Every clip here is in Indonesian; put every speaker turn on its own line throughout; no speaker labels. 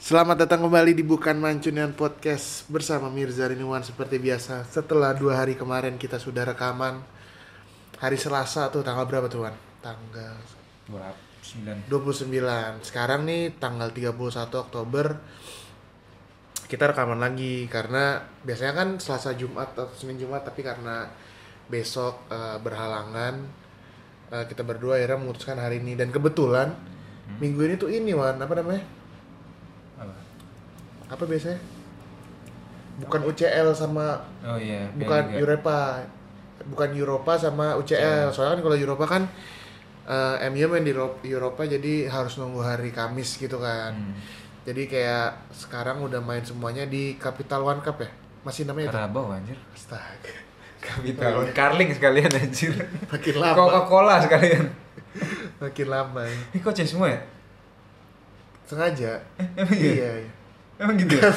Selamat datang kembali di Bukan Mancunian Podcast bersama Mirza Rinuan seperti biasa. Setelah dua hari kemarin kita sudah rekaman hari Selasa tuh tanggal berapa tuh Wan? Tanggal
Berapa? 9
29. Sekarang nih tanggal 31 Oktober kita rekaman lagi karena biasanya kan Selasa Jumat atau Senin Jumat tapi karena besok eh, berhalangan eh, kita berdua akhirnya memutuskan hari ini dan kebetulan minggu ini tuh ini Wan apa namanya?
Apa?
Apa biasanya? Bukan UCL sama
Oh iya,
bukan
Piala Liga.
Europa bukan Europa sama
Iya.
UCL soalnya kan kalau Europa kan eh, MU main di Ro- Europa jadi harus nunggu hari Kamis gitu kan
Hmm.
jadi kayak sekarang udah main semuanya di Capital One Cup ya masih namanya itu
Karabau anjir.
astaga
Kita lawan Carling sekalian anjir.
makin lama
Coca-Cola sekalian.
makin lama ya.
Ini kok C semua ya?
sengaja
emang iya?
iya iya
Emang gitu ya?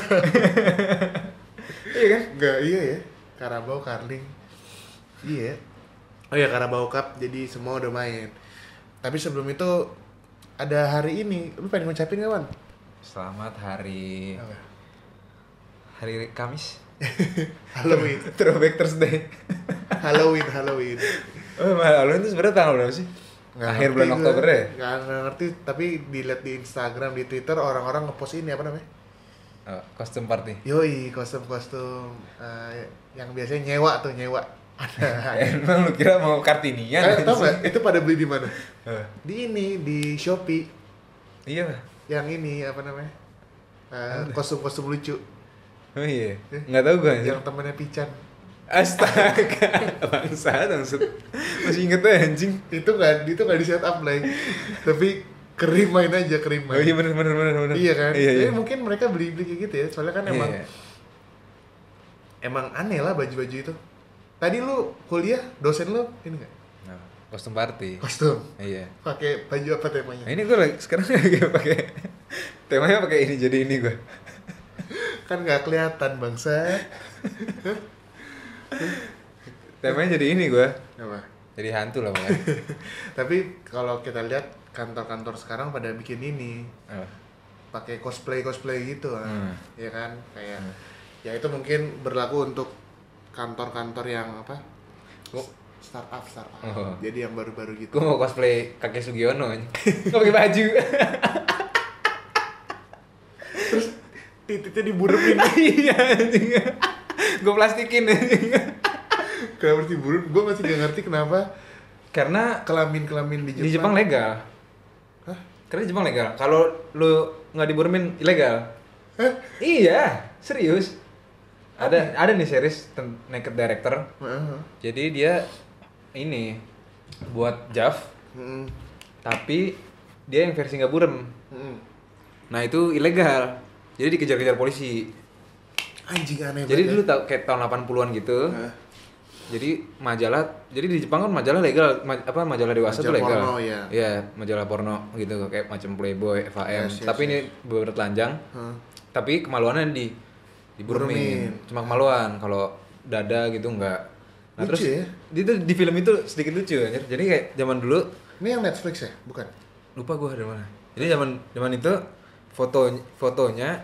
iya kan?
enggak iya ya Karabau Carling iya oh ya Karabau Cup jadi semua udah main tapi sebelum itu ada hari ini lu pengen ngucapin gak Wan?
Selamat hari
Apa?
hari Kamis.
Halloween
Throwback Thursday.
Halloween Halloween
Oh, malah lu itu sebenarnya tanggal berapa sih?
Nggak
Akhir
ngerti
bulan
gue.
Oktober ya?
nggak nggak ngerti tapi dilihat di Instagram di Twitter orang-orang ngepost ini apa namanya
Oh, kostum party.
yoi kostum-kostum eh, yang biasanya nyewa tuh nyewa ada
Emang lu kira mau Kartinian?
eh, tau
anjir?
nggak itu pada beli di mana
Eh,
di ini di Shopee
Iya lah.
yang ini apa namanya Eh, kostum-kostum lucu
Oh iya,
Eh.
nggak tahu gua anjir.
yang temennya Pican
Astaga, bangsa bangsat. Masih inget aja anjing.
itu nggak itu nggak di set up Blay. tapi kering main aja kering
Oh
main
iya bener bener bener bener.
Iya kan?
Iya
Jadi
iya.
mungkin mereka beli-beli kayak gitu ya. Soalnya kan
Iya,
emang
iya.
emang aneh lah baju-baju itu. Tadi lu kuliah dosen lu ini enggak?
Nah, kostum party.
Kostum.
Iya.
Pakai baju apa temanya?
Nah, ini gue lagi sekarang lagi pakai temanya pakai ini jadi ini gue.
Kan nggak kelihatan bangsa.
Temanya jadi ini gue.
Apa?
Jadi hantu lah pokoknya.
Tapi kalau kita lihat kantor-kantor sekarang pada bikin ini
Apa?
pakai cosplay cosplay gitu kan.
Oh. Hmm.
ya kan kayak ya itu mungkin berlaku untuk kantor-kantor yang apa
Kok-
startup startup
Oh.
jadi yang baru-baru gitu
Gue mau cosplay kakek Sugiono aja. Gue pakai baju.
titiknya diburepin
Iya anjing. Gue plastikin anjing.
Kenapa harus dibunuh? Gue masih gak ngerti kenapa
Karena
kelamin-kelamin di Jepang.
di Jepang ya? legal.
Hah?
Karena di Jepang legal. Kalau lu nggak diburumin ilegal. Iya, serius. Ada ada nih series ten- Naked Director.
Heeh.
Jadi dia ini buat Jav,
Heeh.
tapi dia yang versi nggak burem.
Heeh.
Nah itu ilegal. Jadi dikejar-kejar polisi.
Anjing aneh
Jadi
banget.
dulu tau, kayak tahun 80-an gitu.
Hah?
Jadi majalah, jadi di Jepang kan majalah legal, ma- apa majalah dewasa
Majalah
tuh legal.
porno, iya.
Iya, majalah porno gitu kayak macam Playboy, FAM.
Yes, yes,
tapi ini
yes.
beberapa telanjang.
Hah?
tapi kemaluannya di
Burumin.
diburumin cuma kemaluan kalau dada gitu enggak nah
Lucu
terus
ya?
di, itu di film itu sedikit lucu anjir. jadi kayak zaman dulu
Ini yang Netflix ya? Bukan?
lupa gua dari mana jadi zaman zaman itu foto fotonya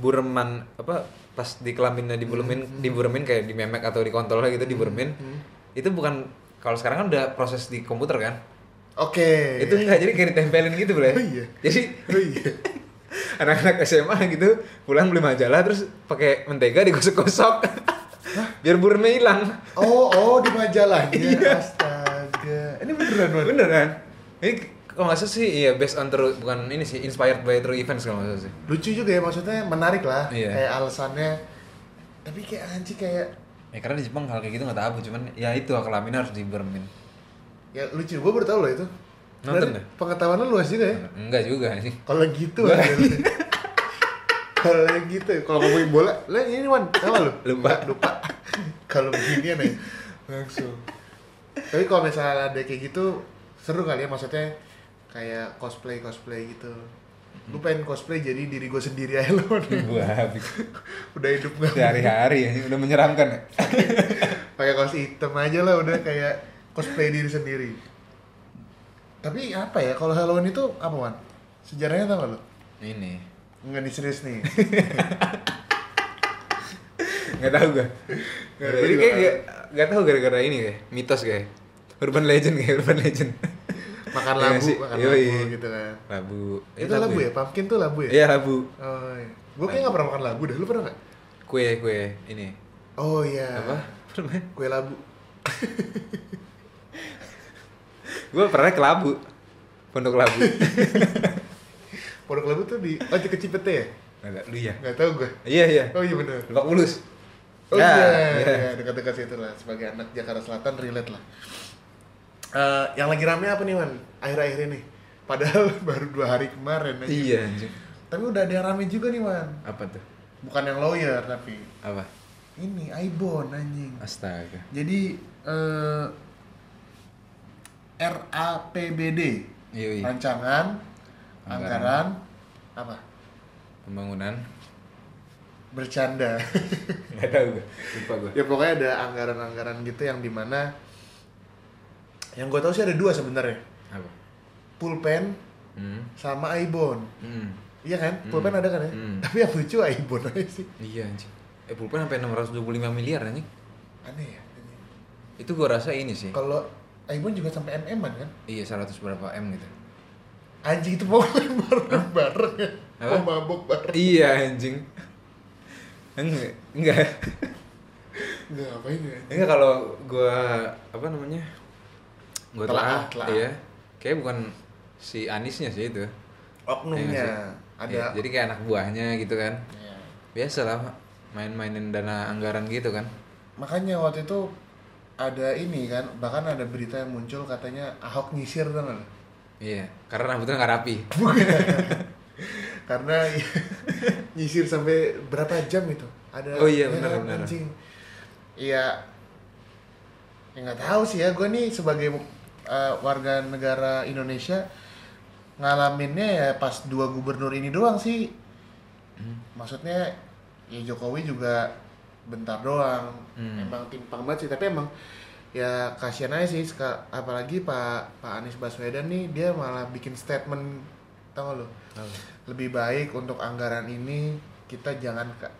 bureman apa pas di kelaminnya diburemin diburemin kayak di memek atau di kontol gitu diburemin itu bukan kalau sekarang kan udah proses di komputer kan
Oke.
itu enggak jadi kayak ditempelin gitu boleh
Iya, Oh iya.
jadi
Oh iya.
anak-anak SMA gitu pulang beli majalah terus pakai mentega digosok-gosok biar burungnya hilang
Oh, oh di majalahnya.
Iya.
Astaga. Ini beneran banget.
beneran ini kalau nggak salah sih iya based on true bukan ini sih inspired by true events kalau nggak salah sih
Lucu juga ya maksudnya menarik lah.
Iya.
Kayak alasannya. Tapi kayak anjing kayak
ya karena di Jepang hal kayak gitu nggak tabu cuman ya itu hak kelamin harus dibermin
ya lucu gue baru tau loh itu.
Nonton
Berarti
ya?
Pengetahuan lu luas juga ya.
enggak juga sih
Kalau gitu aja. lu. Kalau yang gitu, kalau ngomongin bola, lah ini Wan, sama lu?
Lupa.
Nggak, lupa. kalau beginian ya, langsung. Tapi kalau misalnya ada kayak gitu, seru kali ya maksudnya kayak cosplay cosplay gitu. Lu pengen cosplay jadi diri gue sendiri aja lu.
gua habis
Udah hidup gak?
sehari-hari ya udah menyeramkan ya
pakai kaos hitam aja lah udah kayak cosplay diri sendiri tapi apa ya kalau Halloween itu apa Wan? sejarahnya tau gak lo
ini
Enggak nih serius nih
nggak tahu gua
Nggak
Nggak
tahu
jadi
juga.
kayak nggak nggak tahu gara-gara ini kayak mitos kayak urban legend kayak urban legend
makan
Iya
labu
sih?
makan
Yoi.
labu gitu kan
labu Eh,
itu labu ya pumpkin tuh labu ya
iya labu
oh, iya. gue kayak nggak pernah makan labu dah lu pernah nggak
kue kue ini
oh iya
apa pernah
kue labu
gue pernah ke labu pondok labu
pondok labu tuh di oh di Kecipete ya
nggak lu ya
nggak tahu gue
iya iya
oh iya bener
lebak bulus
Oh
Ya,
iya,
iya.
iya, dekat-dekat situ lah. Sebagai anak Jakarta Selatan relate lah. Eh, yang lagi rame apa nih man? Akhir-akhir ini. Padahal baru dua hari kemarin aja.
iya anjing
Tapi udah ada yang rame juga nih man.
apa tuh
Bukan yang lawyer tapi
apa
ini Aibon anjing.
astaga
Jadi eh RAPBD
Yoi.
rancangan anggaran apa?
pembangunan
Bercanda.
nggak tahu gue lupa gue
ya pokoknya ada anggaran-anggaran gitu yang dimana yang gue tahu sih ada dua sebenarnya
apa
pulpen
hmm.
sama ibon
Hmm.
iya kan pulpen ada kan ya
Hmm.
tapi yang lucu ibon aja sih
iya anjing eh pulpen sampai 625 miliar anjing
aneh ya
itu gue rasa ini sih
kalau ibon juga sampai mm an kan
iya 100 berapa m gitu
anjing itu pokoknya bareng bareng ya
Apa?
mau mabok bareng
iya anjing enggak enggak
nggak ngapain ya
enggak kalau gua apa namanya gua
Telaah,
telah,
telaah.
iya kayak bukan si Anisnya sih itu Iya
oknumnya
nggak
ada
Iya, jadi kayak anak buahnya gitu kan
Iya.
biasa lah main-mainin dana anggaran gitu kan
makanya waktu itu ada ini kan bahkan ada berita yang muncul katanya ahok nyisir tau nggak lo?
iya karena rambutnya nggak rapi
karena nyisir sampai berapa jam itu ada
Oh
ya,
iya, benar, benar.
anjing. iya ya nggak tahu sih ya gue nih sebagai uh, warga negara Indonesia ngalaminnya ya pas dua gubernur ini doang sih
Hmm.
maksudnya ya Jokowi juga bentar doang
Hmm.
emang timpang banget sih tapi emang ya kasihan aja sih seka- apalagi Pak Pak Anies Baswedan nih dia malah bikin statement tau gak lo lebih baik untuk anggaran ini kita jangan ka-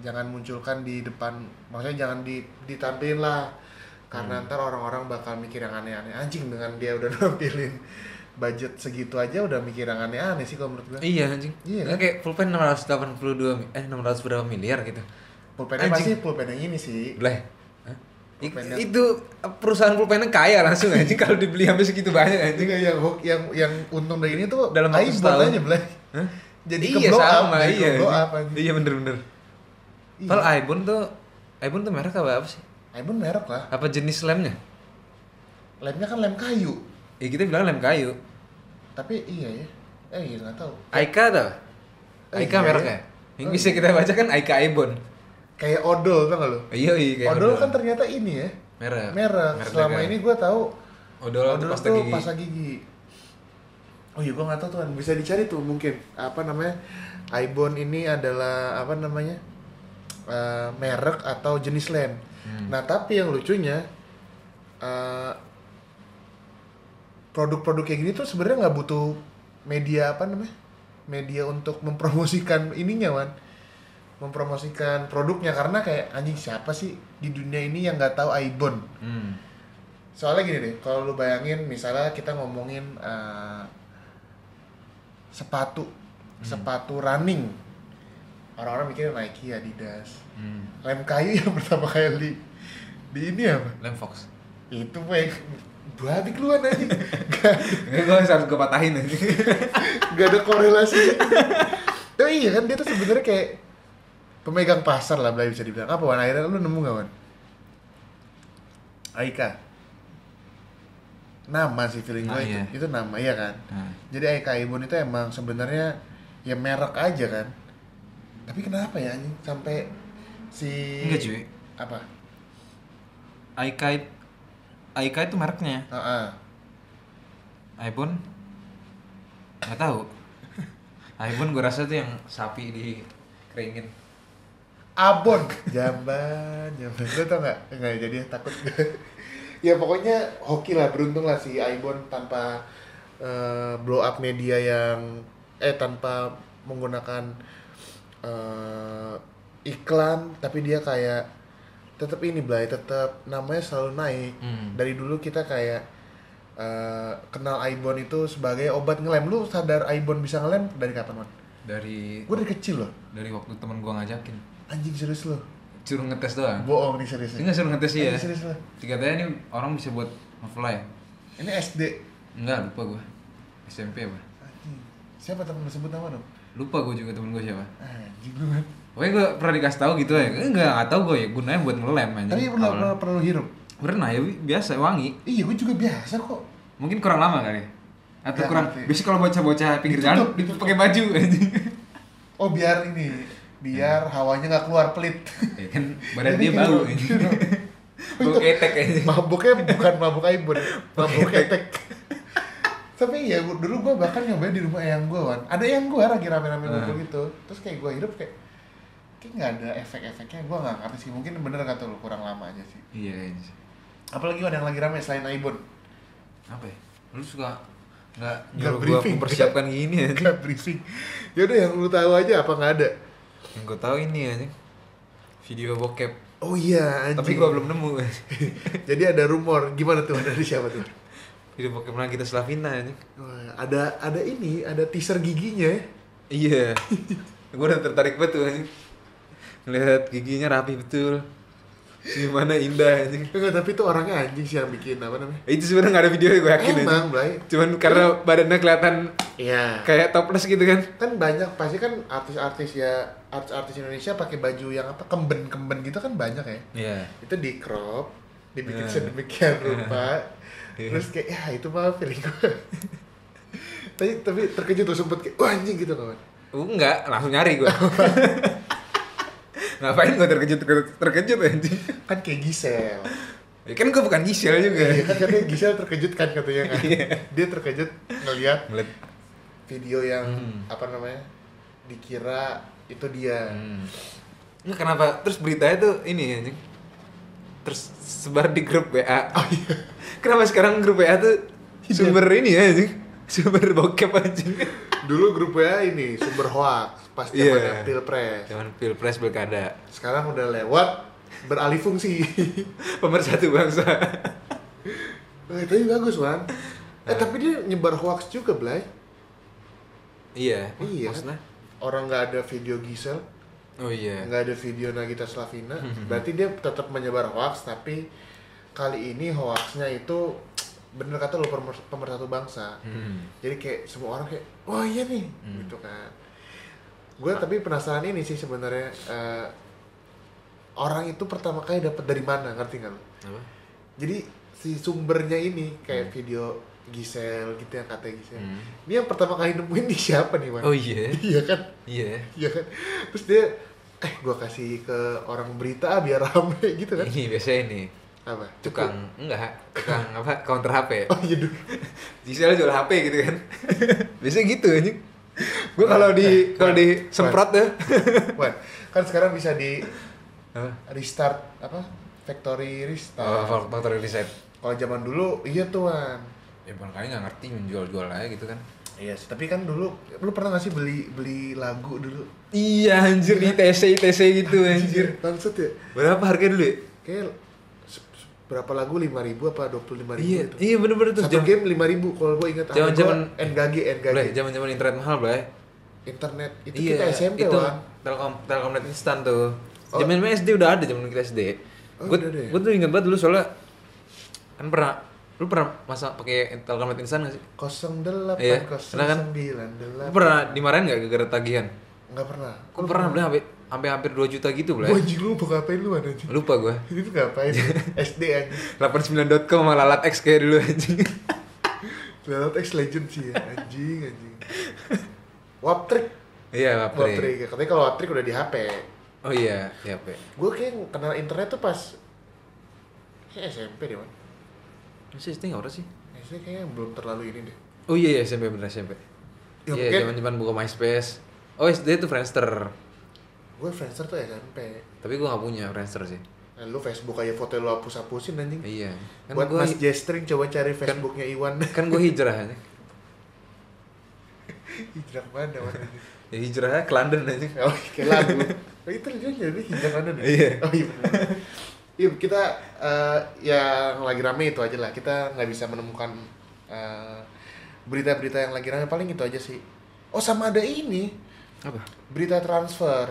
jangan munculkan di depan maksudnya jangan di, ditampilin lah
Hmm.
karena ntar orang-orang bakal mikir yang aneh-aneh anjing dengan dia udah nampilin budget segitu aja udah mikir yang aneh-aneh sih kalau menurut gue
iya anjing
Iya,
Nggak, kayak pulpen 682 mi- eh 600 berapa miliar gitu
pulpennya pasti
Anjing.
pulpen yang ini sih
Bleh. Hah? I-
Pulpennya.
itu perusahaan pulpennya kaya langsung anjing kalau dibeli habis segitu banyak anjing
Juga yang hook- yang yang untung dari ini tuh
Dalam waktu
aib
setahun.
aja Blay.
Hah?
Jadi
iya
ke-blow up,
sama
jadi
iya
ke-blow
anjing.
up, anjing.
iya bener-bener
Iya.
Padahal iPhone tuh iPhone tuh merek apa, apa sih
iPhone merek lah.
apa jenis lemnya
Lemnya kan lem kayu.
ya kita bilang lem kayu
Tapi iya ya. Eh iya nggak tahu.
Aika tau
Eh,
Aika
iya,
mereknya
iya.
yang bisa kita baca kan Aika Ibon
Kayak odol tau gak lu?
iya iya kayak
odol kan ternyata ini ya.
merek
Merek. Selama
negara.
ini gua tahu
odol,
odol,
tuh pasta
tuh
gigi
pasta gigi. Oh iya gua nggak tahu tuh Wan. bisa dicari tuh mungkin apa namanya iPhone ini adalah apa namanya eh, merek atau jenis lem.
Hmm.
Nah tapi yang lucunya eh, produk-produk kayak gini tuh sebenarnya nggak butuh media apa namanya media untuk mempromosikan ininya wan mempromosikan produknya karena kayak anjing siapa sih di dunia ini yang nggak tahu Aibon
hmm.
soalnya gini deh kalau lu bayangin misalnya kita ngomongin eh, sepatu sepatu running orang-orang mikirnya Nike Adidas
Hmm.
lem kayu yang pertama kali di ini apa
lem fox
itu baik babi keluar aja
Enggak, gue harus gue patahin aja
nggak ada korelasi tapi iya kan dia tuh sebenarnya kayak pemegang pasar lah Blay bisa dibilang apa wan akhirnya lu nemu gak wan Aika nama sih feeling gue
Nah,
itu
iya.
itu nama iya kan
Nah.
jadi Aika Ibon itu emang sebenarnya ya merek aja kan tapi kenapa ya anjing sampai si
Enggak, cuy.
apa
Aika it- Aika itu mereknya
Ah, ah.
iPhone nggak tahu iPhone gue rasa tuh yang sapi di keringin
abon jamban jamban lu tau nggak nggak jadi ya, takut ya pokoknya hoki lah beruntung lah si Aibon tanpa eh, blow up media yang eh tanpa menggunakan eh, iklan tapi dia kayak tetap ini Blay tetap namanya selalu naik
Hmm.
dari dulu kita kayak eh, kenal Aibon itu sebagai obat ngelem lu sadar Aibon bisa ngelem dari kapan man?
dari
Gue dari kecil loh
dari waktu teman gua ngajakin
anjing serius lo
suruh ngetes doang
bohong nih serius
ini nggak suruh ngetes sih ya
Ini serius lah.
dikatanya ini orang bisa buat ngefly
Ini SD.
enggak lupa gua SMP apa
Anjing. Siapa temen lu sebut nama dong?
lupa gua juga temen gua siapa
Anjing lu kan.
Pokoknya gue pernah dikasih tahu gitu ya, enggak nggak tahu gue ya gunanya buat ngelem aja.
Tapi pernah, pernah, pernah lu hirup?
Pernah ya bi- biasa wangi,
Iya, gue juga biasa kok.
mungkin kurang lama kali, atau
Nggak
kurang.
ngerti.
Biasanya kalau bocah-bocah pinggir
Iya, Ditutup,
jalan
ditutup.
pakai baju aja.
Oh biar ini, biar hawanya nggak keluar pelit.
ya kan badan
Jadi gitu.
dia
hirup,
bau
hirup.
bau ketek aja.
Mabuknya bukan mabuk aibun, mabuk ketek. Tapi ya gua- dulu gue bahkan nyobain di rumah eyang gue, Wan. Ada eyang gue lagi rame-rame ngumpul gitu. Terus kayak gue hirup kayak kayak nggak ada efek-efeknya gue nggak ngerti sih mungkin bener kata lu kurang lama aja sih
Iya kayaknya sih.
apalagi ada yang lagi rame selain Aibon
Apa ya? Lu suka nggak
Nggak
nyuruh gue
briefing.
mempersiapkan gini ya?
Gak briefing. Yaudah yang lu tahu aja apa nggak ada.
Yang gue tahu ini aja video bokep,
Oh iya.
tapi
anjing.
gue belum nemu.
Jadi ada rumor. Gimana tuh dari siapa tuh?
video bokep lagi kita Slavina aja.
Wah, ada ada ini ada teaser giginya. ya.
Iya. gue udah tertarik banget tuh anjing. Ngelihat giginya rapi betul. Gimana indah anjing.
Enggak tapi itu orangnya anjing sih yang bikin apa namanya?
Itu sebenarnya gak ada videonya gue yakin anjing.
Emang, Blay.
Cuman karena badannya kelihatan
Iya.
kayak topless gitu kan.
Kan banyak pasti kan artis-artis ya artis-artis Indonesia pakai baju yang apa kemben-kemben gitu kan banyak ya.
Iya.
Itu di crop, dibikin
Iya.
sedemikian rupa.
Iya.
Terus kayak ya itu mah feeling gue. tapi tapi terkejut tuh sempet kayak wah anjing gitu kawan.
enggak, Uh, langsung nyari gue. Ngapain gue terkejut terkejut anjing.
Kan kayak Gisel.
Ya kan gue bukan Gisel
Iya
juga.
kan katanya Gisel terkejut kan katanya kan.
Iya.
Dia terkejut ngeliat
Ngeliat.
video yang
Hmm.
apa namanya dikira itu dia.
Hmm. Ini kenapa? Terus beritanya tuh ini anjing. Terus sebar di grup WA.
Oh iya.
Kenapa sekarang grup WA tuh sumber ini ya anjing? Sumber bokep anjing.
Dulu grupnya ini sumber hoax pas
Iya.
zamannya pilpres.
Cuman pilpres pilkada.
Sekarang udah lewat beralih fungsi.
Pemersatu bangsa.
Wah, tapi bagus Wan. Eh
Nah.
tapi dia nyebar hoax juga Blay.
iya.
Iya.
Maksudnya?
Orang nggak ada video Gisel,
Oh iya.
nggak ada video Nagita Slavina.
Hmm,
Berarti dia tetap menyebar hoax tapi kali ini hoaxnya itu bener kata lu pemer- pemersatu bangsa.
Hmm.
jadi kayak semua orang kayak wah iya nih gitu kan gue
Ah.
tapi penasaran ini sih sebenarnya eh, orang itu pertama kali dapat dari mana ngerti nggak lo
Apa?
jadi si sumbernya ini kayak video Gisel gitu yang kata Gisel
Hmm.
ini yang pertama kali nemuin nih siapa nih man
Oh iya.
iya kan
Iya.
iya kan terus dia eh gue kasih ke orang berita ah, biar rame gitu kan
Ini biasanya ini
apa
tukang enggak tukang apa counter HP
oh iya dulu
Gisel jual HP gitu kan biasanya gitu anjing gue kalau
Nah,
di kalau di semprot ya
Wan, kan sekarang bisa di Nah.
apa
restart apa factory restart
oh, faktor riset
Kalau zaman dulu iya tuan.
ya barangkali nggak ngerti jual-jual aja gitu kan
Iya, sih, tapi kan dulu lu pernah gak sih beli beli lagu dulu?
iya anjir di TC TC gitu anjir
Bangsat ya.
berapa harga dulu ya?
Kayak se- se- berapa lagu 5000 apa 25000
iya
itu.
iya bener-bener tuh
gitu? Satu game 5000 kalau gua ingat ada
Zaman-zaman-
gua NGG NGG.
Blay, zaman-zaman internet mahal Blay
Internet itu
iya
kita SMP,
itu
Wan.
telkom telkomnet instan tuh
Oh.
zaman SD udah ada zaman kita SD
Oh,
gue
udah ada ya?
gue tuh inget banget dulu soalnya kan pernah lu pernah masa pakai telkomnet instan gak sih
08
Iya, pernah kan?
09
lu pernah dimarahin gak gara-gara tagihan
Enggak pernah.
gue pernah beli sampai sampai hampir 2 juta gitu
Gua
beli
anjing lu mau ngapain lu mana anjing?
lupa gue
Ini tuh ngapain? SD anjing.
89.com sama lalat X kayak dulu anjing
Lewat X Legend sih ya, anjing anjing. Wap trick.
iya apa
Wap trick. Katanya kalau wap trick udah di HP.
oh iya iya apa ya?
gue kayak kenal internet tuh pas kayak SMP deh man
masih SD nggak orang sih
SD kayaknya belum terlalu ini deh
oh iya iya SMP bener SMP
Ya,
iya
mungkin-
zaman zaman buka MySpace oh SD itu Friendster
Gue Friendster tuh SMP.
Tapi gue gak punya Friendster sih.
Nah, lu Facebook aja foto lu hapus-hapusin anjing.
Iya. Kan
Buat
gue
Mas Jestring coba cari Facebooknya Iwan.
kan gue hijrah aja.
hijrah mana mana
Ya hijrahnya ke London aja.
Oh, kayak lagu. Oh, itu dia jadi hijrah mana deh?
Iya.
Oh iya. bener. Iya, kita eh, yang lagi rame itu aja lah. Kita nggak bisa menemukan eh, berita-berita yang lagi rame paling itu aja sih. Oh sama ada ini
Apa?
berita transfer.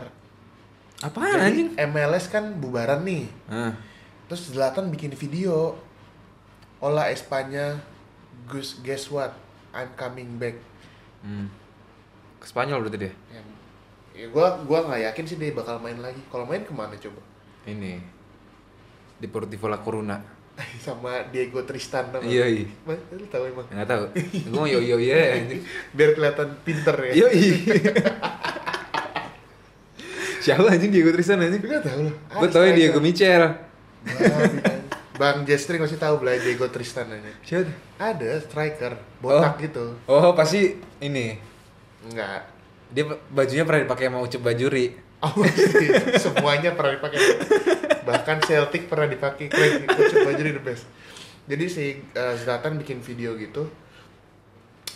Apaan
Jadi,
anjing?
MLS kan bubaran nih.
Ah.
Terus Zlatan bikin video. Ola Espanya, Gus, guess what? I'm coming back.
Hmm. Ke Spanyol berarti dia.
Ya, ya gua gua nggak yakin sih dia bakal main lagi. Kalau main kemana coba?
Ini. Deportivo La Coruna.
Sama Diego Tristan tau nggak?
Iya, iya. Nah,
Mas, lu tahu emang.
Enggak tahu. Gue mau yo yo ya anjing.
Biar kelihatan pinter ya.
Yo Siapa anjing Diego Tristan anjing?
Lu nggak tahu loh.
Gue tau ya Diego Michel.
Bang Jestring masih tahu belah Diego Tristan aja.
Siapa? tuh?
Ada striker botak
Oh.
gitu.
Oh pasti ini.
Enggak.
Dia bajunya pernah dipakai sama Ucup Bajuri.
Oh, sih. semuanya pernah dipakai. Bahkan Celtic pernah dipakai. Keren, coba jadi the best. Jadi si eh, Zlatan bikin video gitu.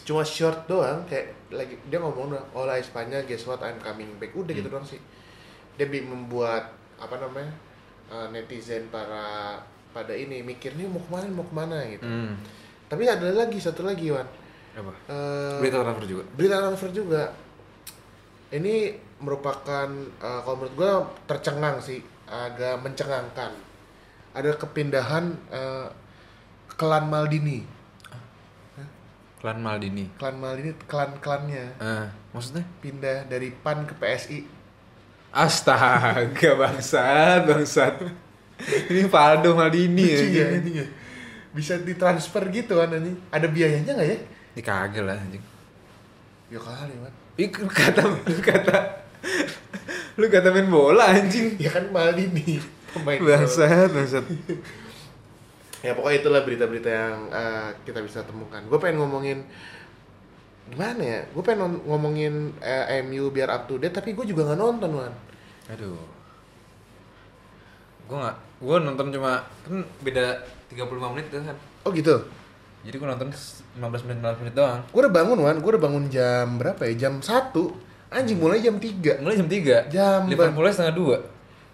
Cuma short doang kayak lagi dia ngomong doang, "Hola Espanya, guess what I'm coming back." Udah gitu doang
Hmm.
sih. Dia bi- membuat apa namanya? eh, netizen para pada ini mikir nih mau kemana mau kemana gitu.
Hmm.
Tapi ada lagi satu lagi Wan.
Apa?
Eh,
Berita transfer juga.
berita transfer juga ini merupakan eh, kalau menurut gue tercengang sih agak mencengangkan ada kepindahan eh, klan Maldini
Klan Maldini.
klan Maldini klan klannya
Ah, maksudnya?
pindah dari PAN ke PSI
Astaga bangsat, bangsat. Ini Faldo Maldini ya.
Lucu ya ini ya. bisa ditransfer gitu kan ini ada biayanya nggak ya
Ini kagak lah anjing.
ya kali man
Ih, lu kata lu kata lu kata main bola anjing.
ya kan Maldini pemain bola.
Bangsat, bangsat.
ya pokoknya itulah berita-berita yang eh, kita bisa temukan gue pengen ngomongin gimana ya gue pengen nom- ngomongin eh, MU biar up to date tapi gue juga nggak nonton Wan
Aduh. Gua nggak, gua nonton cuma kan beda 35 menit tuh kan.
oh gitu
Jadi gua nonton 15 menit 15 menit doang.
gue udah bangun Wan gue udah bangun jam berapa ya jam 1 anjing mulai jam 3
Mulai jam 3.
Jam
Liverpoolnya setengah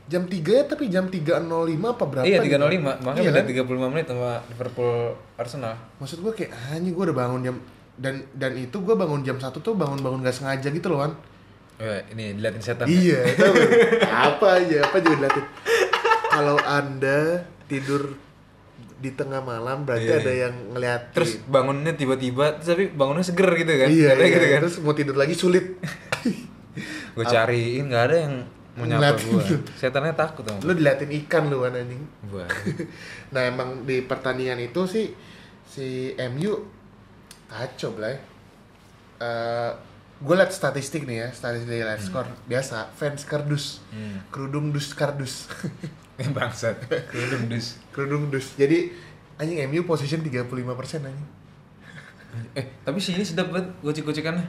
2.
jam 3 ya tapi jam 3.05 apa berapa
Iya
gitu?
305, makanya
Iya
beda
kan?
35 menit sama Liverpool Arsenal.
maksud gue kayak anjing gue udah bangun jam dan dan itu gue bangun jam 1 tuh bangun-bangun gak sengaja gitu loh Wan
Eh, ini diliatin setan.
Iya, tahu. apa aja, apa juga dilatih. Kalau Anda tidur di tengah malam berarti
Iya.
ada yang ngeliatin.
Terus bangunnya tiba-tiba, terus tapi bangunnya seger gitu kan?
iya,
Katanya
iya.
gitu kan?
terus mau tidur lagi sulit.
Gue cariin nggak ada yang mau nyapa
Ngeliatin
gue.
lu.
Setannya takut sama
lu dilatih ikan lu kan, anjing.
gue.
Nah, emang di pertandingan itu sih si MU kacau, Blay. Eh, gue liat statistik nih ya, statistik dari live score biasa fans kardus
Hmm.
kerudung dus kardus
Yang bangsat. Kerudung dus.
kerudung dus jadi anjing MU position 35% anjing
Eh, tapi si ini sedap banget gocek-gocekannya.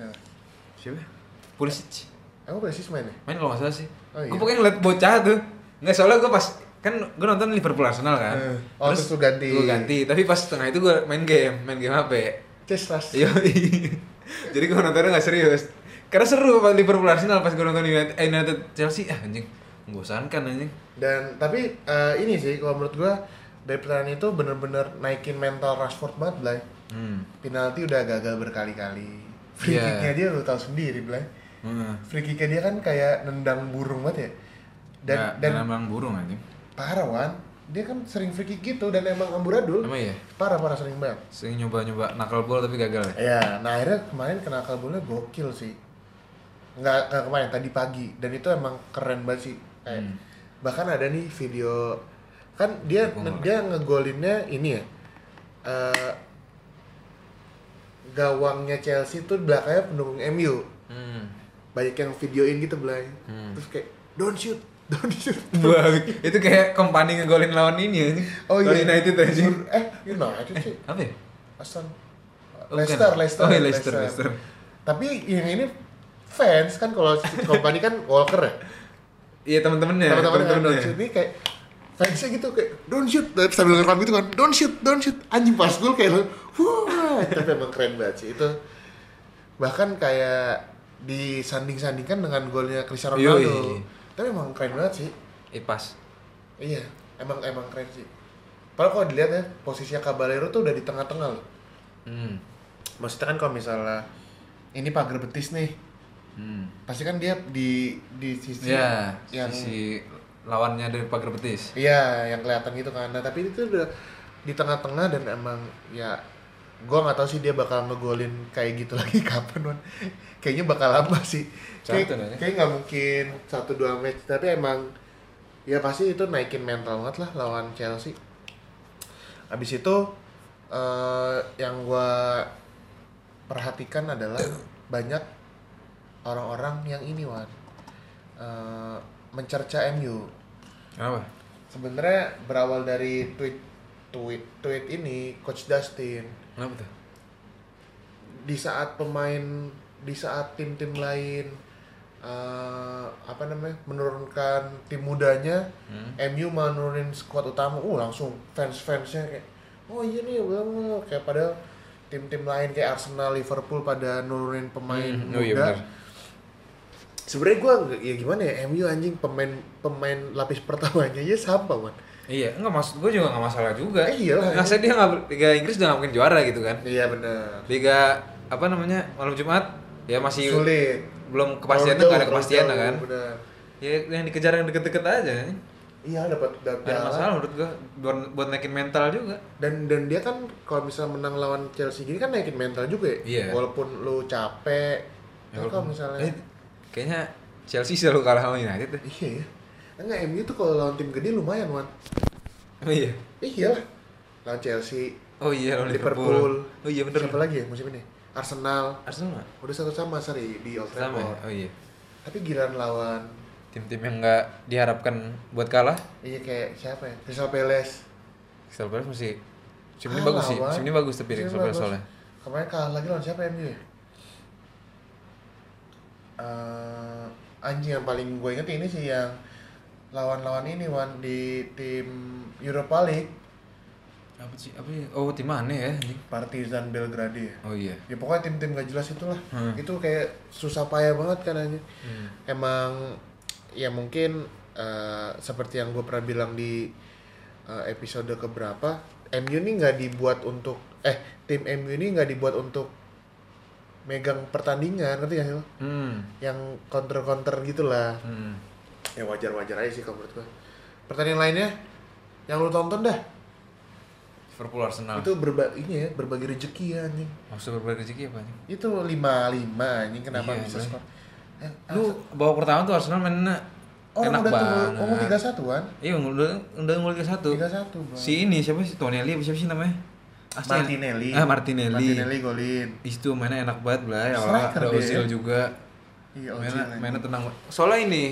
Ya.
Siapa? Pulisic.
Emang Persis main ya?
Main kalau nggak salah sih.
Oh, iya.
Gue pengen ngeliat bocah tuh. Nggak soalnya gue pas kan gue nonton Liverpool Arsenal kan.
Eh. Oh, terus lu ganti.
Gue ganti. Tapi pas setengah itu gue main game, main game HP.
Ces ras.
Yoi. Jadi gue nontonnya gak serius. Karena seru pas Liverpool Arsenal pas gue nonton United, eh, United Chelsea ah anjing membosankan anjing.
Dan tapi eh, ini sih kalau menurut gua dari pertandingan itu bener-bener naikin mental Rashford banget, Blay.
Hmm.
Penalti udah gagal berkali-kali. Free
Iya.
kicknya dia lu tahu sendiri, Blay.
Hmm.
Free kicknya dia kan kayak nendang burung banget ya. Dan dan
burung anjing.
parah wan, dia kan sering free kick gitu dan emang amburadul.
Emang iya?
Parah-parah sering banget.
Sering nyoba-nyoba nakal bola tapi gagal ya.
Ya, nah akhirnya kemarin kena kabulnya gokil sih. Nggak, nggak kemarin, tadi pagi. Dan itu emang keren banget sih. Kayak,
Hmm.
Bahkan ada nih video, kan dia
Iya, Gua nggak-
dia ngegolinnya ini ya. eh, gawangnya Chelsea tuh belakangnya pendukung MU.
Hmm.
Banyak yang videoin gitu belai.
Hmm.
Terus kayak, don't shoot, don't shoot.
Wah, itu kayak company ngegolin lawan ini anjing.
Oh, iya.
Lawan United anjing.
Eh, United sih.
Apa ya?
Aston.
Oh,
Leicester,
bukan.
Leicester,
Oh, iya, Leicester, Leicester.
Tapi yang ini fans kan kalau company kan Walker ya
Iya
teman-teman
teman-temannya.
yang
teman-temannya.
don't shoot ini kayak fansnya gitu kayak don't shoot tapi sambil ngerekam gitu kan don't shoot don't shoot anjing pas gol kayak wah tapi emang keren banget sih itu bahkan kayak disanding-sandingkan dengan golnya Cristiano
Yoi.
Ronaldo tapi emang keren banget sih
Eh pas.
iya emang emang keren sih padahal kalau dilihat ya posisinya Caballero tuh udah di tengah-tengah loh
Hmm.
maksudnya kan kalau misalnya ini pagar betis nih
Hmm.
pasti kan dia di di sisi
Ya,
yang
sisi lawannya dari pagar betis.
Iya, yang kelihatan gitu kan. Nah, tapi itu udah di tengah-tengah dan emang ya gua nggak tahu sih dia bakal ngegolin kayak gitu lagi kapan Wan. Kayaknya bakal lama sih.
Satu dah ya.
Kayak kayak nggak mungkin satu dua match, tapi emang ya pasti itu naikin mental banget lah lawan Chelsea. Abis itu eh, yang gua perhatikan adalah banyak orang-orang yang ini Wan Eh, mencerca MU
Kenapa?
sebenarnya berawal dari tweet tweet tweet ini coach Dustin
Kenapa tuh?
di saat pemain di saat tim-tim lain eh, apa namanya menurunkan tim mudanya
Hmm.
MU malah nurunin skuad utama uh langsung fans-fansnya kayak oh iya nih bla bla bla." kayak padahal tim-tim lain kayak Arsenal Liverpool pada nurunin pemain
Hmm,
muda
oh iya benar.
sebenarnya gue ya gimana ya MU anjing pemain pemain lapis pertamanya aja sampah man
Iya, enggak maksud gue juga enggak masalah juga.
Eh, iyalah.
Nggak, saya dia enggak Liga Inggris udah nggak mungkin juara gitu kan.
iya bener
Liga apa namanya? Malam Jumat ya masih
sulit
belum kepastian
Terlalu
nggak ada
jauh,
kepastian
terlalu
kan.
jauh, benar.
Ya yang dikejar yang deket-deket aja.
iya dapat dapat
Gak ada masalah menurut gue buat, buat naikin mental juga.
dan dan dia kan kalau misalnya menang lawan Chelsea gini kan naikin mental juga ya
Iya.
walaupun lu capek ya, kalau misalnya
Eh, kayaknya Chelsea selalu kalah sama United. deh.
iya ya enggak MU tuh kalau lawan tim gede lumayan wan
Oh iya.
iya lah lawan Chelsea
Oh iya lawan Liverpool.
Liverpool,
Oh iya bener.
siapa lagi ya musim ini Arsenal
Arsenal nggak?
udah satu sama seri di Old
sama. ya?
Trafford
Oh iya.
tapi giliran lawan
Tim-tim yang nggak diharapkan buat kalah.
iya kayak siapa ya Crystal Palace
Crystal Palace masih musim ini
Kalah,
bagus sih.
Wan.
Musim ini bagus tapi
Musim
Crystal Palace
bagus.
soalnya.
Kemarin kalah lagi lawan siapa MU ya? Eh, anjing yang paling gue inget ini sih yang lawan-lawan ini Wan di tim Europa League
Apa sih? Apa sih? Oh tim mana ya?
Partizan Belgrade ya.
Oh iya.
Ya pokoknya tim-tim gak jelas itulah.
Hmm.
Itu kayak susah payah banget kan anjing. Emang ya mungkin eh, seperti yang gue pernah bilang di eh, episode keberapa MU ini nggak dibuat untuk eh tim MU ini nggak dibuat untuk megang pertandingan ngerti gak sih lo?
Hmm.
yang counter-counter gitulah
Hmm.
ya wajar-wajar aja sih kalau menurut gue pertandingan lainnya yang lu tonton dah
Liverpool Arsenal.
itu berba ini ya berbagi rezeki ya anjing
Maksud berbagi rezeki apa nih?
itu lima lima anjing kenapa
Iya,
bisa
anjing.
skor Eh,
Lu babak pertama tuh Arsenal mainnya
orang Oh, udah
enak
tuh
banget.
ngomong tiga satuan
Iya, udah udah ngulur ke satu.
tiga satu
Si ini siapa sih Tonelli apa siapa sih namanya? Asli-
Martinelli
Ah, Martinelli.
Martinelli golin
Itu mainnya enak banget lah ya.
Striker
Ada
dia.
Ozil juga.
Iya,
mainnya,
Ozil
mainnya tenang. Soalnya ini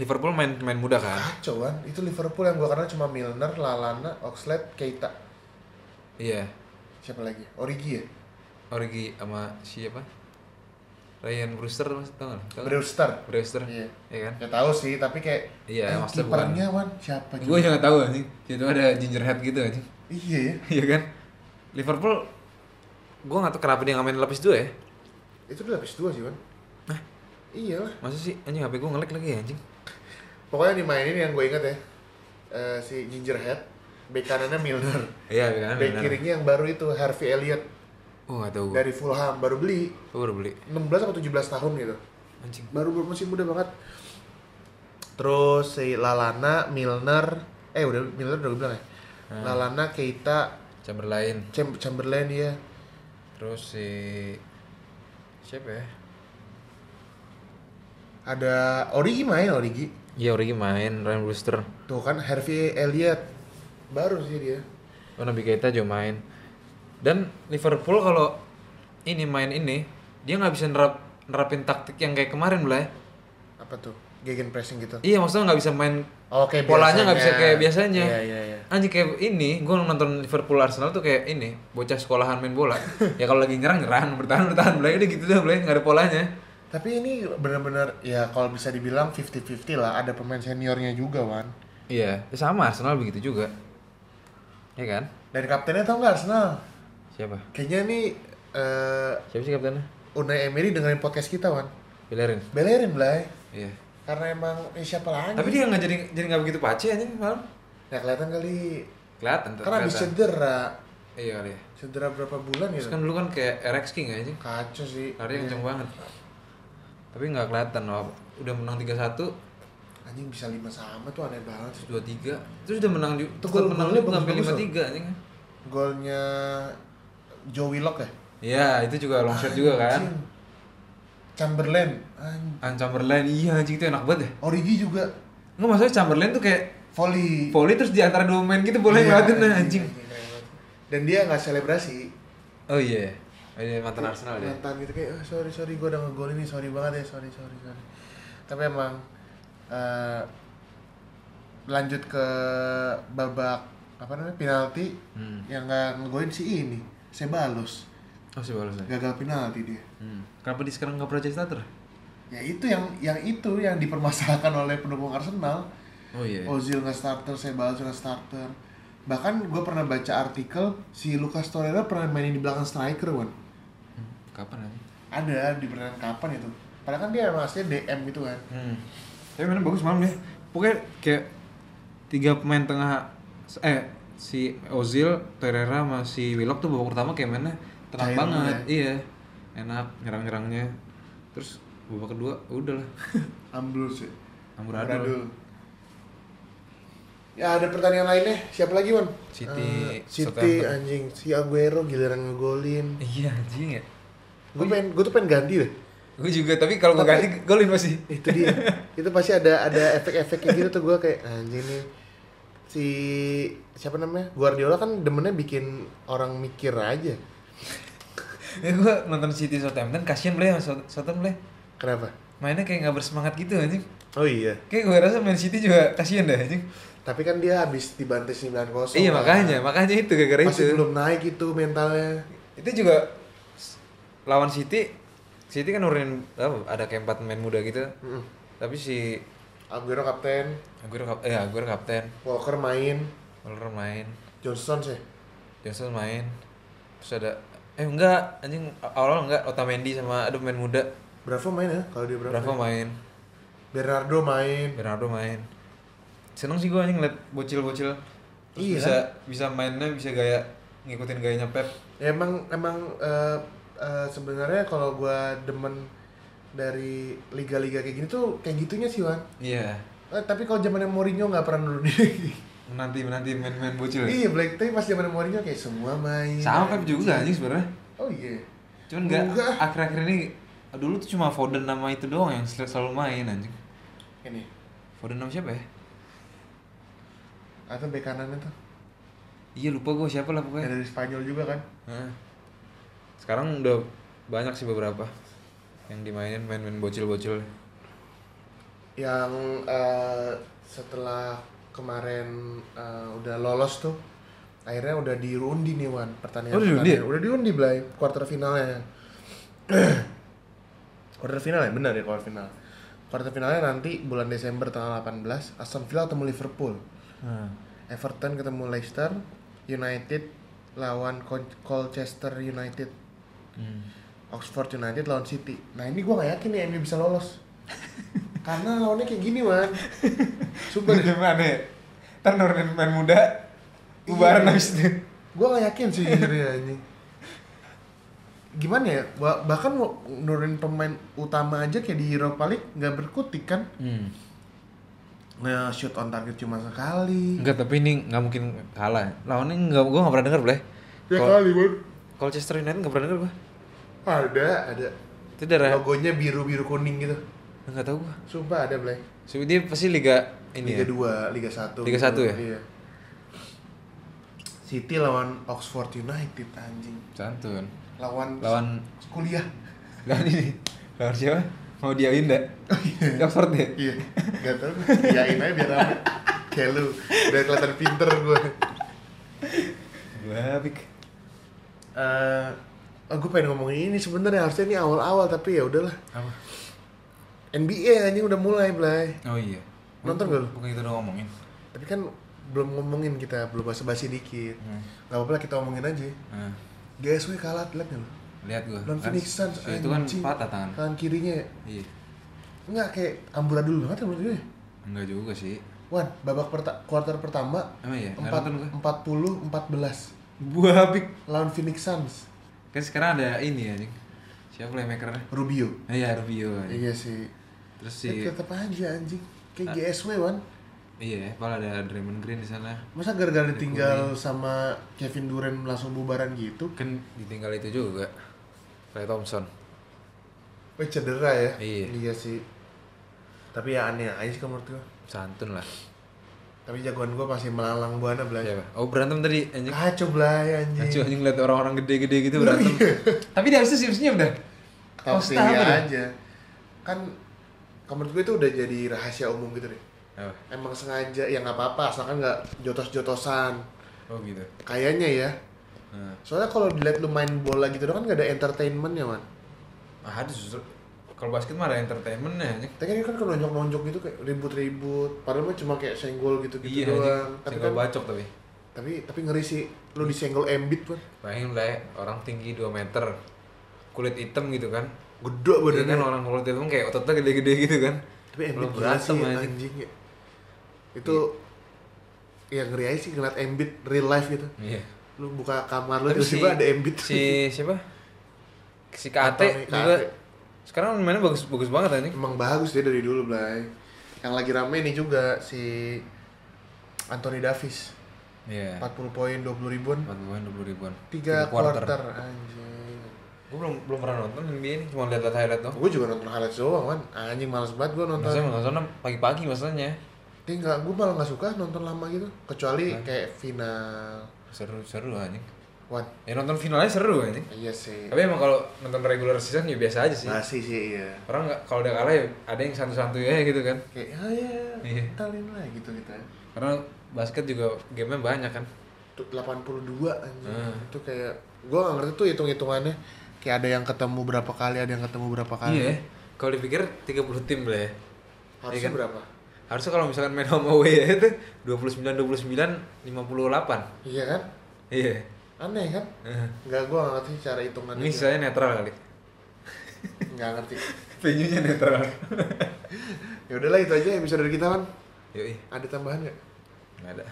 Liverpool main main muda kan?
Kacau kan, itu Liverpool yang gua kenal cuma Milner, Lalana, Oxlade, Keita
Iya.
Siapa lagi? Origi ya?
Origi sama siapa? Ryan Brewster mas tau nggak? Tau nggak?
Brewster
Brewster.
Iya.
Iya kan?
Ya tahu sih, tapi kayak
Iya,
eh,
maksudnya
kipernya Wan siapa
Gue
juga?
juga nggak tahu anjing. Itu ada gingerhead gitu anjing.
Iya ya.
Iya kan? Liverpool gue nggak tahu kenapa dia nggak main lapis dua ya?
Itu udah lapis dua sih, Wan.
Hah?
Iya lah.
Masa sih anjing HP gue ngelag lagi ya anjing?
Pokoknya dimainin yang gue ingat ya. Eh, si Gingerhead, bek kanannya Milner.
Iya kan?
Bek kirinya yang baru itu Harvey Elliott
Oh nggak tahu gue.
dari Fulham baru beli
Gue baru beli
16 atau 17 tahun gitu.
anjing.
Baru baru masih muda banget. Terus si Lalana, Milner, eh udah Milner udah gue bilang ya.
Ah.
Lalana, Keita,
Chamberlain.
Cham- Chamberlain ya.
Terus si siapa ya?
Ada Origi main Origi.
Iya Origi main, Ryan Brewster.
Tuh kan Harvey Elliott baru sih dia.
Oh, Nabi Keita juga main. Dan Liverpool kalau ini main ini, dia nggak bisa nerap, nerapin taktik yang kayak kemarin lah. ya.
Apa tuh? Gegen pressing gitu.
Iya maksudnya nggak bisa main
Oke,
polanya nggak bisa kayak biasanya.
Iya, iya, iya.
Anjing kayak ini, gue nonton Liverpool Arsenal tuh kayak ini, Ya, bocah sekolahan main bola. ya kalau lagi nyerang nyerang, bertahan bertahan, mulai udah gitu dah, mulai nggak ada polanya.
Tapi ini bener-bener ya kalau bisa dibilang 50-50 lah. Ada pemain seniornya juga, Wan.
Iya, ya sama Arsenal begitu juga. Iya kan?
Dan kaptennya tau nggak Arsenal?
Siapa?
Kayaknya nih eh
Siapa sih kaptennya?
Unai Emery dengerin podcast kita, Wan.
Bellerin.
Belerin, Blay.
Iya.
Karena emang eh, siapa lagi?
Tapi dia nggak jadi jadi nggak begitu pace anjing malam.
Nah, kelihatan kali.
Kelihatan tuh.
Karena habis
kelihatan.
cedera.
Iya kali ya.
Cedera berapa bulan ya?
Terus kan dulu kan kayak RX King anjing.
Kacau sih.
Larinya kenceng banget. Tapi nggak kelihatan loh. Udah menang 3-1,
Anjing bisa lima sama tuh aneh banget sih.
2-3. Terus udah menang juga.
Itu
Terus
gol-
menang
golnya
juga sampai
bagus-bagus
5-3 anjing.
Golnya Joe Willock ya?
Iya, itu juga long shot juga kan.
Anjing. Chamberlain. Anjing.
An Chamberlain, iya anjing itu enak banget ya.
Origi juga
Nggak maksudnya Chamberlain tuh kayak
volley.
volley terus di antara dua main gitu boleh
Iya,
ngeliatin nah, anjing.
Dan dia nggak selebrasi.
Oh iya. Oh, iya mantan Arsenal dia.
Mantan gitu kayak "Oh, sorry sorry gue udah ngegol ini sorry banget ya sorry sorry sorry. Tapi emang eh, lanjut ke babak apa namanya penalti
Hmm.
yang nggak ngegolin si ini Sebalos
Oh sih balas ya.
gagal penalti dia
Hmm. Kenapa dia sekarang nggak project starter?
ya itu yang yang itu yang dipermasalahkan oleh pendukung Arsenal
Oh iya.
Ozil nggak starter, Sebalos nggak starter. Bahkan gue pernah baca artikel si Lucas Torreira pernah mainin di belakang striker, Wan.
Hmm, Kapan aja?
Ada di pertandingan kapan itu? Padahal kan dia emang aslinya DM gitu kan.
Hmm. Tapi mainnya bagus malam ya. Pokoknya kayak tiga pemain tengah eh si Ozil, Torreira sama si Willock tuh babak pertama kayak mainnya
Cair
tenang banget. Iya. Enak nyerang-nyerangnya. Terus babak kedua ya udahlah.
Ambul sih.
Amburadul.
Ya ada pertandingan lainnya, siapa lagi, Wan?
City,
Eh, City
Southampton.
anjing, si Aguero giliran ngegolin.
Iya anjing ya.
Gue pengen, gue tuh pengen ganti deh.
Gue juga tapi kalau gue ganti golin masih.
itu dia itu pasti ada ada efek-efeknya gitu tuh gue kayak anjing nih si siapa namanya Guardiola kan demennya bikin orang mikir aja
Ya gue nonton City Southampton kasihan boleh sama South- Southampton boleh.
kenapa
Mainnya kayak nggak bersemangat gitu anjing.
oh iya
Kayak gue rasa Man City juga kasihan deh anjing.
tapi kan dia habis dibantai 9 kosong
iya makanya, makanya itu gara-gara itu.
masih belum naik itu mentalnya
Itu juga s- lawan City. City kan nurunin apa, ada kayak empat pemain muda gitu.
Mm-mm.
Tapi si
Aguero kapten
Aguero kap eh Aguero kapten,
Walker main
Muller main,
Johnson sih
Johnson main. Terus ada eh enggak anjing awal enggak Otamendi sama ada pemain muda.
Bravo main ya kalau dia Bravo,
Bravo main,
Bernardo main
Bernardo main. Seneng sih gue anjing ngeliat bocil-bocil terus
Iya.
bisa bisa mainnya bisa gaya ngikutin gayanya Pep.
Ya, emang emang eh, eh, sebenarnya kalau gua demen dari liga-liga kayak gini tuh kayak gitunya sih Wan
Iya.
Eh, tapi kalau zamannya Mourinho nggak pernah nurunin.
Menanti menanti main-main bocil. ya?
iya, Black tapi pas zamannya Mourinho kayak semua main.
Sama Pep juga anjing sebenarnya.
Oh iya.
Cuman enggak,
Enggak.
akhir-akhir ini dulu tuh cuma Foden nama itu doang yang sel- selalu main anjing.
Ini
Foden nama siapa ya?
atau bek kanannya tuh.
Iya lupa gue siapa lah
Yang
pokoknya.
dari Spanyol juga kan.
Hah. Sekarang udah banyak sih beberapa yang dimainin main-main bocil-bocil.
Yang eh, setelah kemarin eh, udah lolos tuh akhirnya udah diundi nih Wan pertandingan.
Oh, udah diundi ya?
pertandingan. Udah diundi Blay quarter finalnya. quarter final ya benar ya quarter final. Quarter finalnya nanti bulan Desember tanggal 18 Aston Villa ketemu Liverpool. Everton ketemu Leicester, United lawan Col- Colchester United,
Hmm.
Oxford United lawan City. Nah ini gue gak yakin nih MU bisa lolos. Karena lawannya kayak gini man. Sumpah deh.
Gimana ya? Ntar nurunin main muda, bubaran
Iya.
habis itu.
Gue gak yakin sih jujurnya anjing. Gimana ya? Ba- Bahkan mau nurunin pemain utama aja kayak di Europa League gak berkutik kan?
Hmm.
Nah, shoot on target cuma sekali.
Enggak, tapi ini nggak mungkin kalah. Lawannya enggak, gue nggak pernah denger boleh.
Ya
Col-
kali man.
Colchester United nggak pernah denger gue.
Ada, ada.
Itu daerah
Logonya biru-biru kuning gitu.
nggak tahu gue.
Sumpah ada, Blay.
So, dia pasti liga ini
Liga
ya.
2, Liga 1.
Liga satu ya?
Iya. City lawan Oxford United anjing.
ya? Santun.
Lawan,
Lawan
kuliah.
lawan ini. Lawan siapa? Mau dia Indah. Oh iya. Oxford ya?
Iya. Gak tau gue. Iyain aja biar rame. Kayak lu. Udah kelihatan pinter gue.
Babik.
Eh gue pengen ngomongin ini sebenarnya harusnya ini awal-awal tapi ya udahlah
Apa?
NBA anjing udah mulai Blay
Oh iya. Bukan-
Nonton nggak lu?
Bukan kita udah ngomongin.
tapi kan belum ngomongin kita belum basa-basi dikit
Hmm.
nggak apa-apa lah kita omongin aja
Nah,
GSW kalah lihat nggak lu
lihat gua.
lawan
Kan,
Phoenix Suns
Itu kan
anjing.
patah tangan.
tangan kirinya
Iya.
nggak kayak amburadul banget ya menurut gue
Enggak juga sih.
Wan, babak perta quarter pertama
Emang iya? Nggak
empat
nonton gua.
40 14
Buah big.
lawan Phoenix Suns.
Kan sekarang ada ini ya, Dik. Siapa playmakernya?
Rubio.
Ah, Iya, Rubio. anjing.
Iya sih.
Terus si Nah.
Tapi tetap aja anjing. Kayak GSW, Wan.
iya, pala ada Draymond Green di sana.
Masa gara-gara ditinggal sama Kevin Durant langsung bubaran gitu?
Kan
ditinggal itu juga Clay Thompson
Eh cedera ya?
Iya.
sih. Tapi ya aneh aja sih menurut gua.
santun lah
Tapi jagoan gua masih melalang buana belai.
Iya,
siapa oh berantem tadi anjing
Kacau belai
Anjing
anjing.
anjing lihat orang-orang gede-gede gitu berantem. Tapi dia harusnya Oh, siap-siap dah.
iya. Tapi iya,
Pasti apa dah?
aja. Kan kalau menurut gue itu udah jadi rahasia umum gitu deh.
Oh,
apa?
Emang sengaja ya nggak apa-apa asalkan nggak jotos-jotosan.
Oh gitu.
Kayaknya ya.
Nah,
Soalnya kalau dilihat lu main bola gitu doang kan gak ada entertainmentnya man.
Ah, ada justru kalau basket mah ada entertainmentnya anjing.
Tapi kan kan kalau nonjok-nonjok gitu kayak ribut-ribut. Padahal mah cuma kayak senggol gitu-gitu
Iya
doang.
anjing.
Tapi
Senggol
kan
bacok tapi.
tapi tapi ngeri sih lu disenggol embit pun.
Bayangin lah ya, orang tinggi 2 meter. Kulit hitam gitu kan.
Gede
Iya
badannya.
kan orang kulit hitam kayak ototnya gede-gede gitu kan.
tapi embit
Kalau
gila sih
berantem anjing.
anjing ya. Itu ya ngeri aja sih ngeliat embit real life gitu.
Iya.
Lu buka kamar lu
Tapi
tiba-tiba ada gitu. embit.
Si siapa? Si
Anthony
Kate
Kate.
juga sekarang mainnya bagus-bagus banget anjing.
Emang bagus dia dari dulu, Blay. Yang lagi rame nih juga si Anthony Davis.
Iya.
40 poin, 20 ribuan.
4 poin 20 ribuan.
tiga
Tiga
quarter, anjing
Gue belum belum pernah nonton NBA ini, cuma lihat-lihat highlight doang.
gue juga nonton highlights doang kan anjing males banget gue nonton
Maksudnya nonton pagi-pagi maksudnya.
tinggal gue malah nggak suka nonton lama gitu kecuali kayak final
Seru seru anjing.
one
Ya nonton finalnya seru anjing.
iya sih
Tapi emang kalau nonton regular season ya biasa aja sih.
masih sih iya
Orang nggak kalau udah kalah ya ada yang santu-santu ya gitu kan.
kayak ah ya
Iya.
talin lah gitu kita
Karena basket juga gamenya banyak kan.
Tuh, 82 anjing itu kayak gue nggak ngerti tuh hitung hitungannya kayak ada yang ketemu berapa kali ada yang ketemu berapa kali
Iya. Kalau dipikir 30 tim lah ya.
harusnya berapa
Harusnya kalau misalkan main home away ya itu 29 29 58.
iya kan
Iya.
aneh kan
Heeh.
nggak gue nggak ngerti cara hitungannya
Ini saya netral kali.
nggak ngerti
Venue-nya netral.
ya udahlah itu aja episode dari kita kan
Yoi.
ada tambahan nggak
Nggak ada.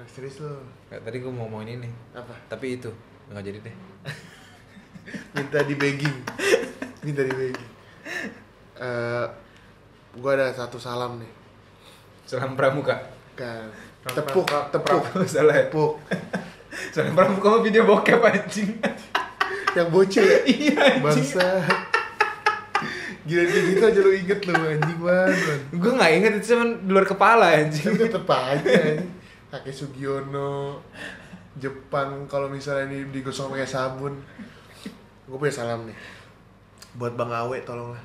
Nah, serius lo
Nggak, tadi gue mau ngomongin ini.
apa
Tapi itu nggak jadi deh.
minta di begging minta di begging Eh, gua ada satu salam nih
Salam pramuka.
kan
Pra-
tepuk
pra-
tepuk
pra- salah ya?
tepuk
Salam pramuka mah video bokep anjing.
yang bocil ya
Iya, anjing.
bangsa gila kayak gitu aja lu inget lu anjing banget
gue nggak inget itu cuman di luar kepala anjing
tapi tetep aja anjing. kakek Sugiono Jepang kalau misalnya ini digosok pakai sabun gue punya salam nih buat Bang Awe tolonglah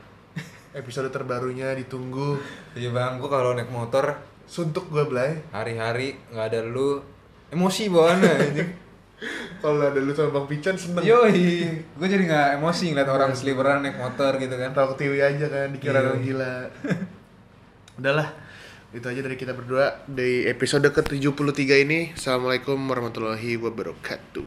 episode terbarunya ditunggu
iya bang gue kalau naik motor
suntuk gue belai
hari-hari nggak ada lu emosi bawaannya anjing
kalau ada lu sama bang Pican seneng
Iya, yoi gue jadi nggak emosi ngeliat orang seliberan naik motor gitu kan
tahu ketiwi aja kan dikira
Iya.
orang gila udahlah itu aja dari kita berdua di episode ke 73 ini assalamualaikum warahmatullahi wabarakatuh